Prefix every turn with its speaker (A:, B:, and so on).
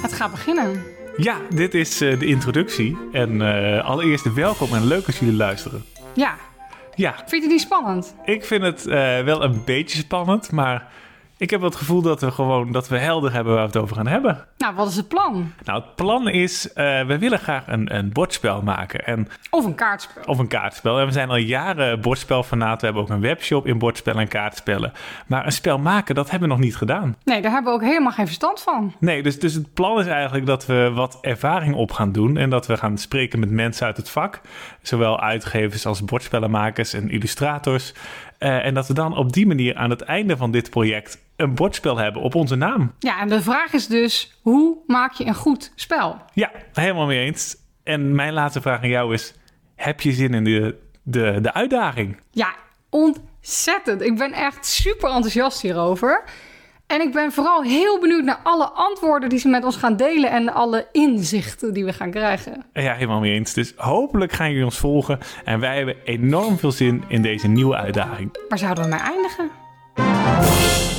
A: Het gaat beginnen.
B: Ja, dit is eh, de introductie. En eh, allereerst welkom en leuk als jullie luisteren.
A: Ja,
B: Ja,
A: vind je die spannend?
B: ik vind het eh, wel een beetje spannend, maar ik heb het gevoel dat we gewoon dat we helder hebben waar we het over gaan hebben.
A: Nou, wat is het plan?
B: Nou, het plan is, eh, we willen graag een, een bordspel maken. En
A: Of een kaartspel.
B: Of een kaartspel. En we zijn al jaren bordspelfanaten. We hebben ook een webshop in bordspellen en kaartspellen. Maar een spel maken, dat hebben we nog niet gedaan.
A: Nee, daar hebben we ook helemaal geen verstand van.
B: Nee, dus, dus het plan is eigenlijk dat we wat ervaring op gaan doen. En dat we gaan spreken met mensen uit het vak. Zowel uitgevers als bordspellenmakers en illustrators. Eh, en dat we dan op die manier aan het einde van dit project een bordspel hebben op onze naam.
A: Ja, en de vraag is dus, hoe maak je een goed spel?
B: Ja, helemaal mee eens. En mijn laatste vraag aan jou is: heb je zin in de, de, de uitdaging?
A: Ja, ontzettend. Ik ben echt super enthousiast hierover. En ik ben vooral heel benieuwd naar alle antwoorden die ze met ons gaan delen en alle inzichten die we gaan krijgen.
B: Ja, helemaal mee eens. Dus hopelijk gaan jullie ons volgen. En wij hebben enorm veel zin in deze nieuwe uitdaging.
A: Waar zouden we mee eindigen?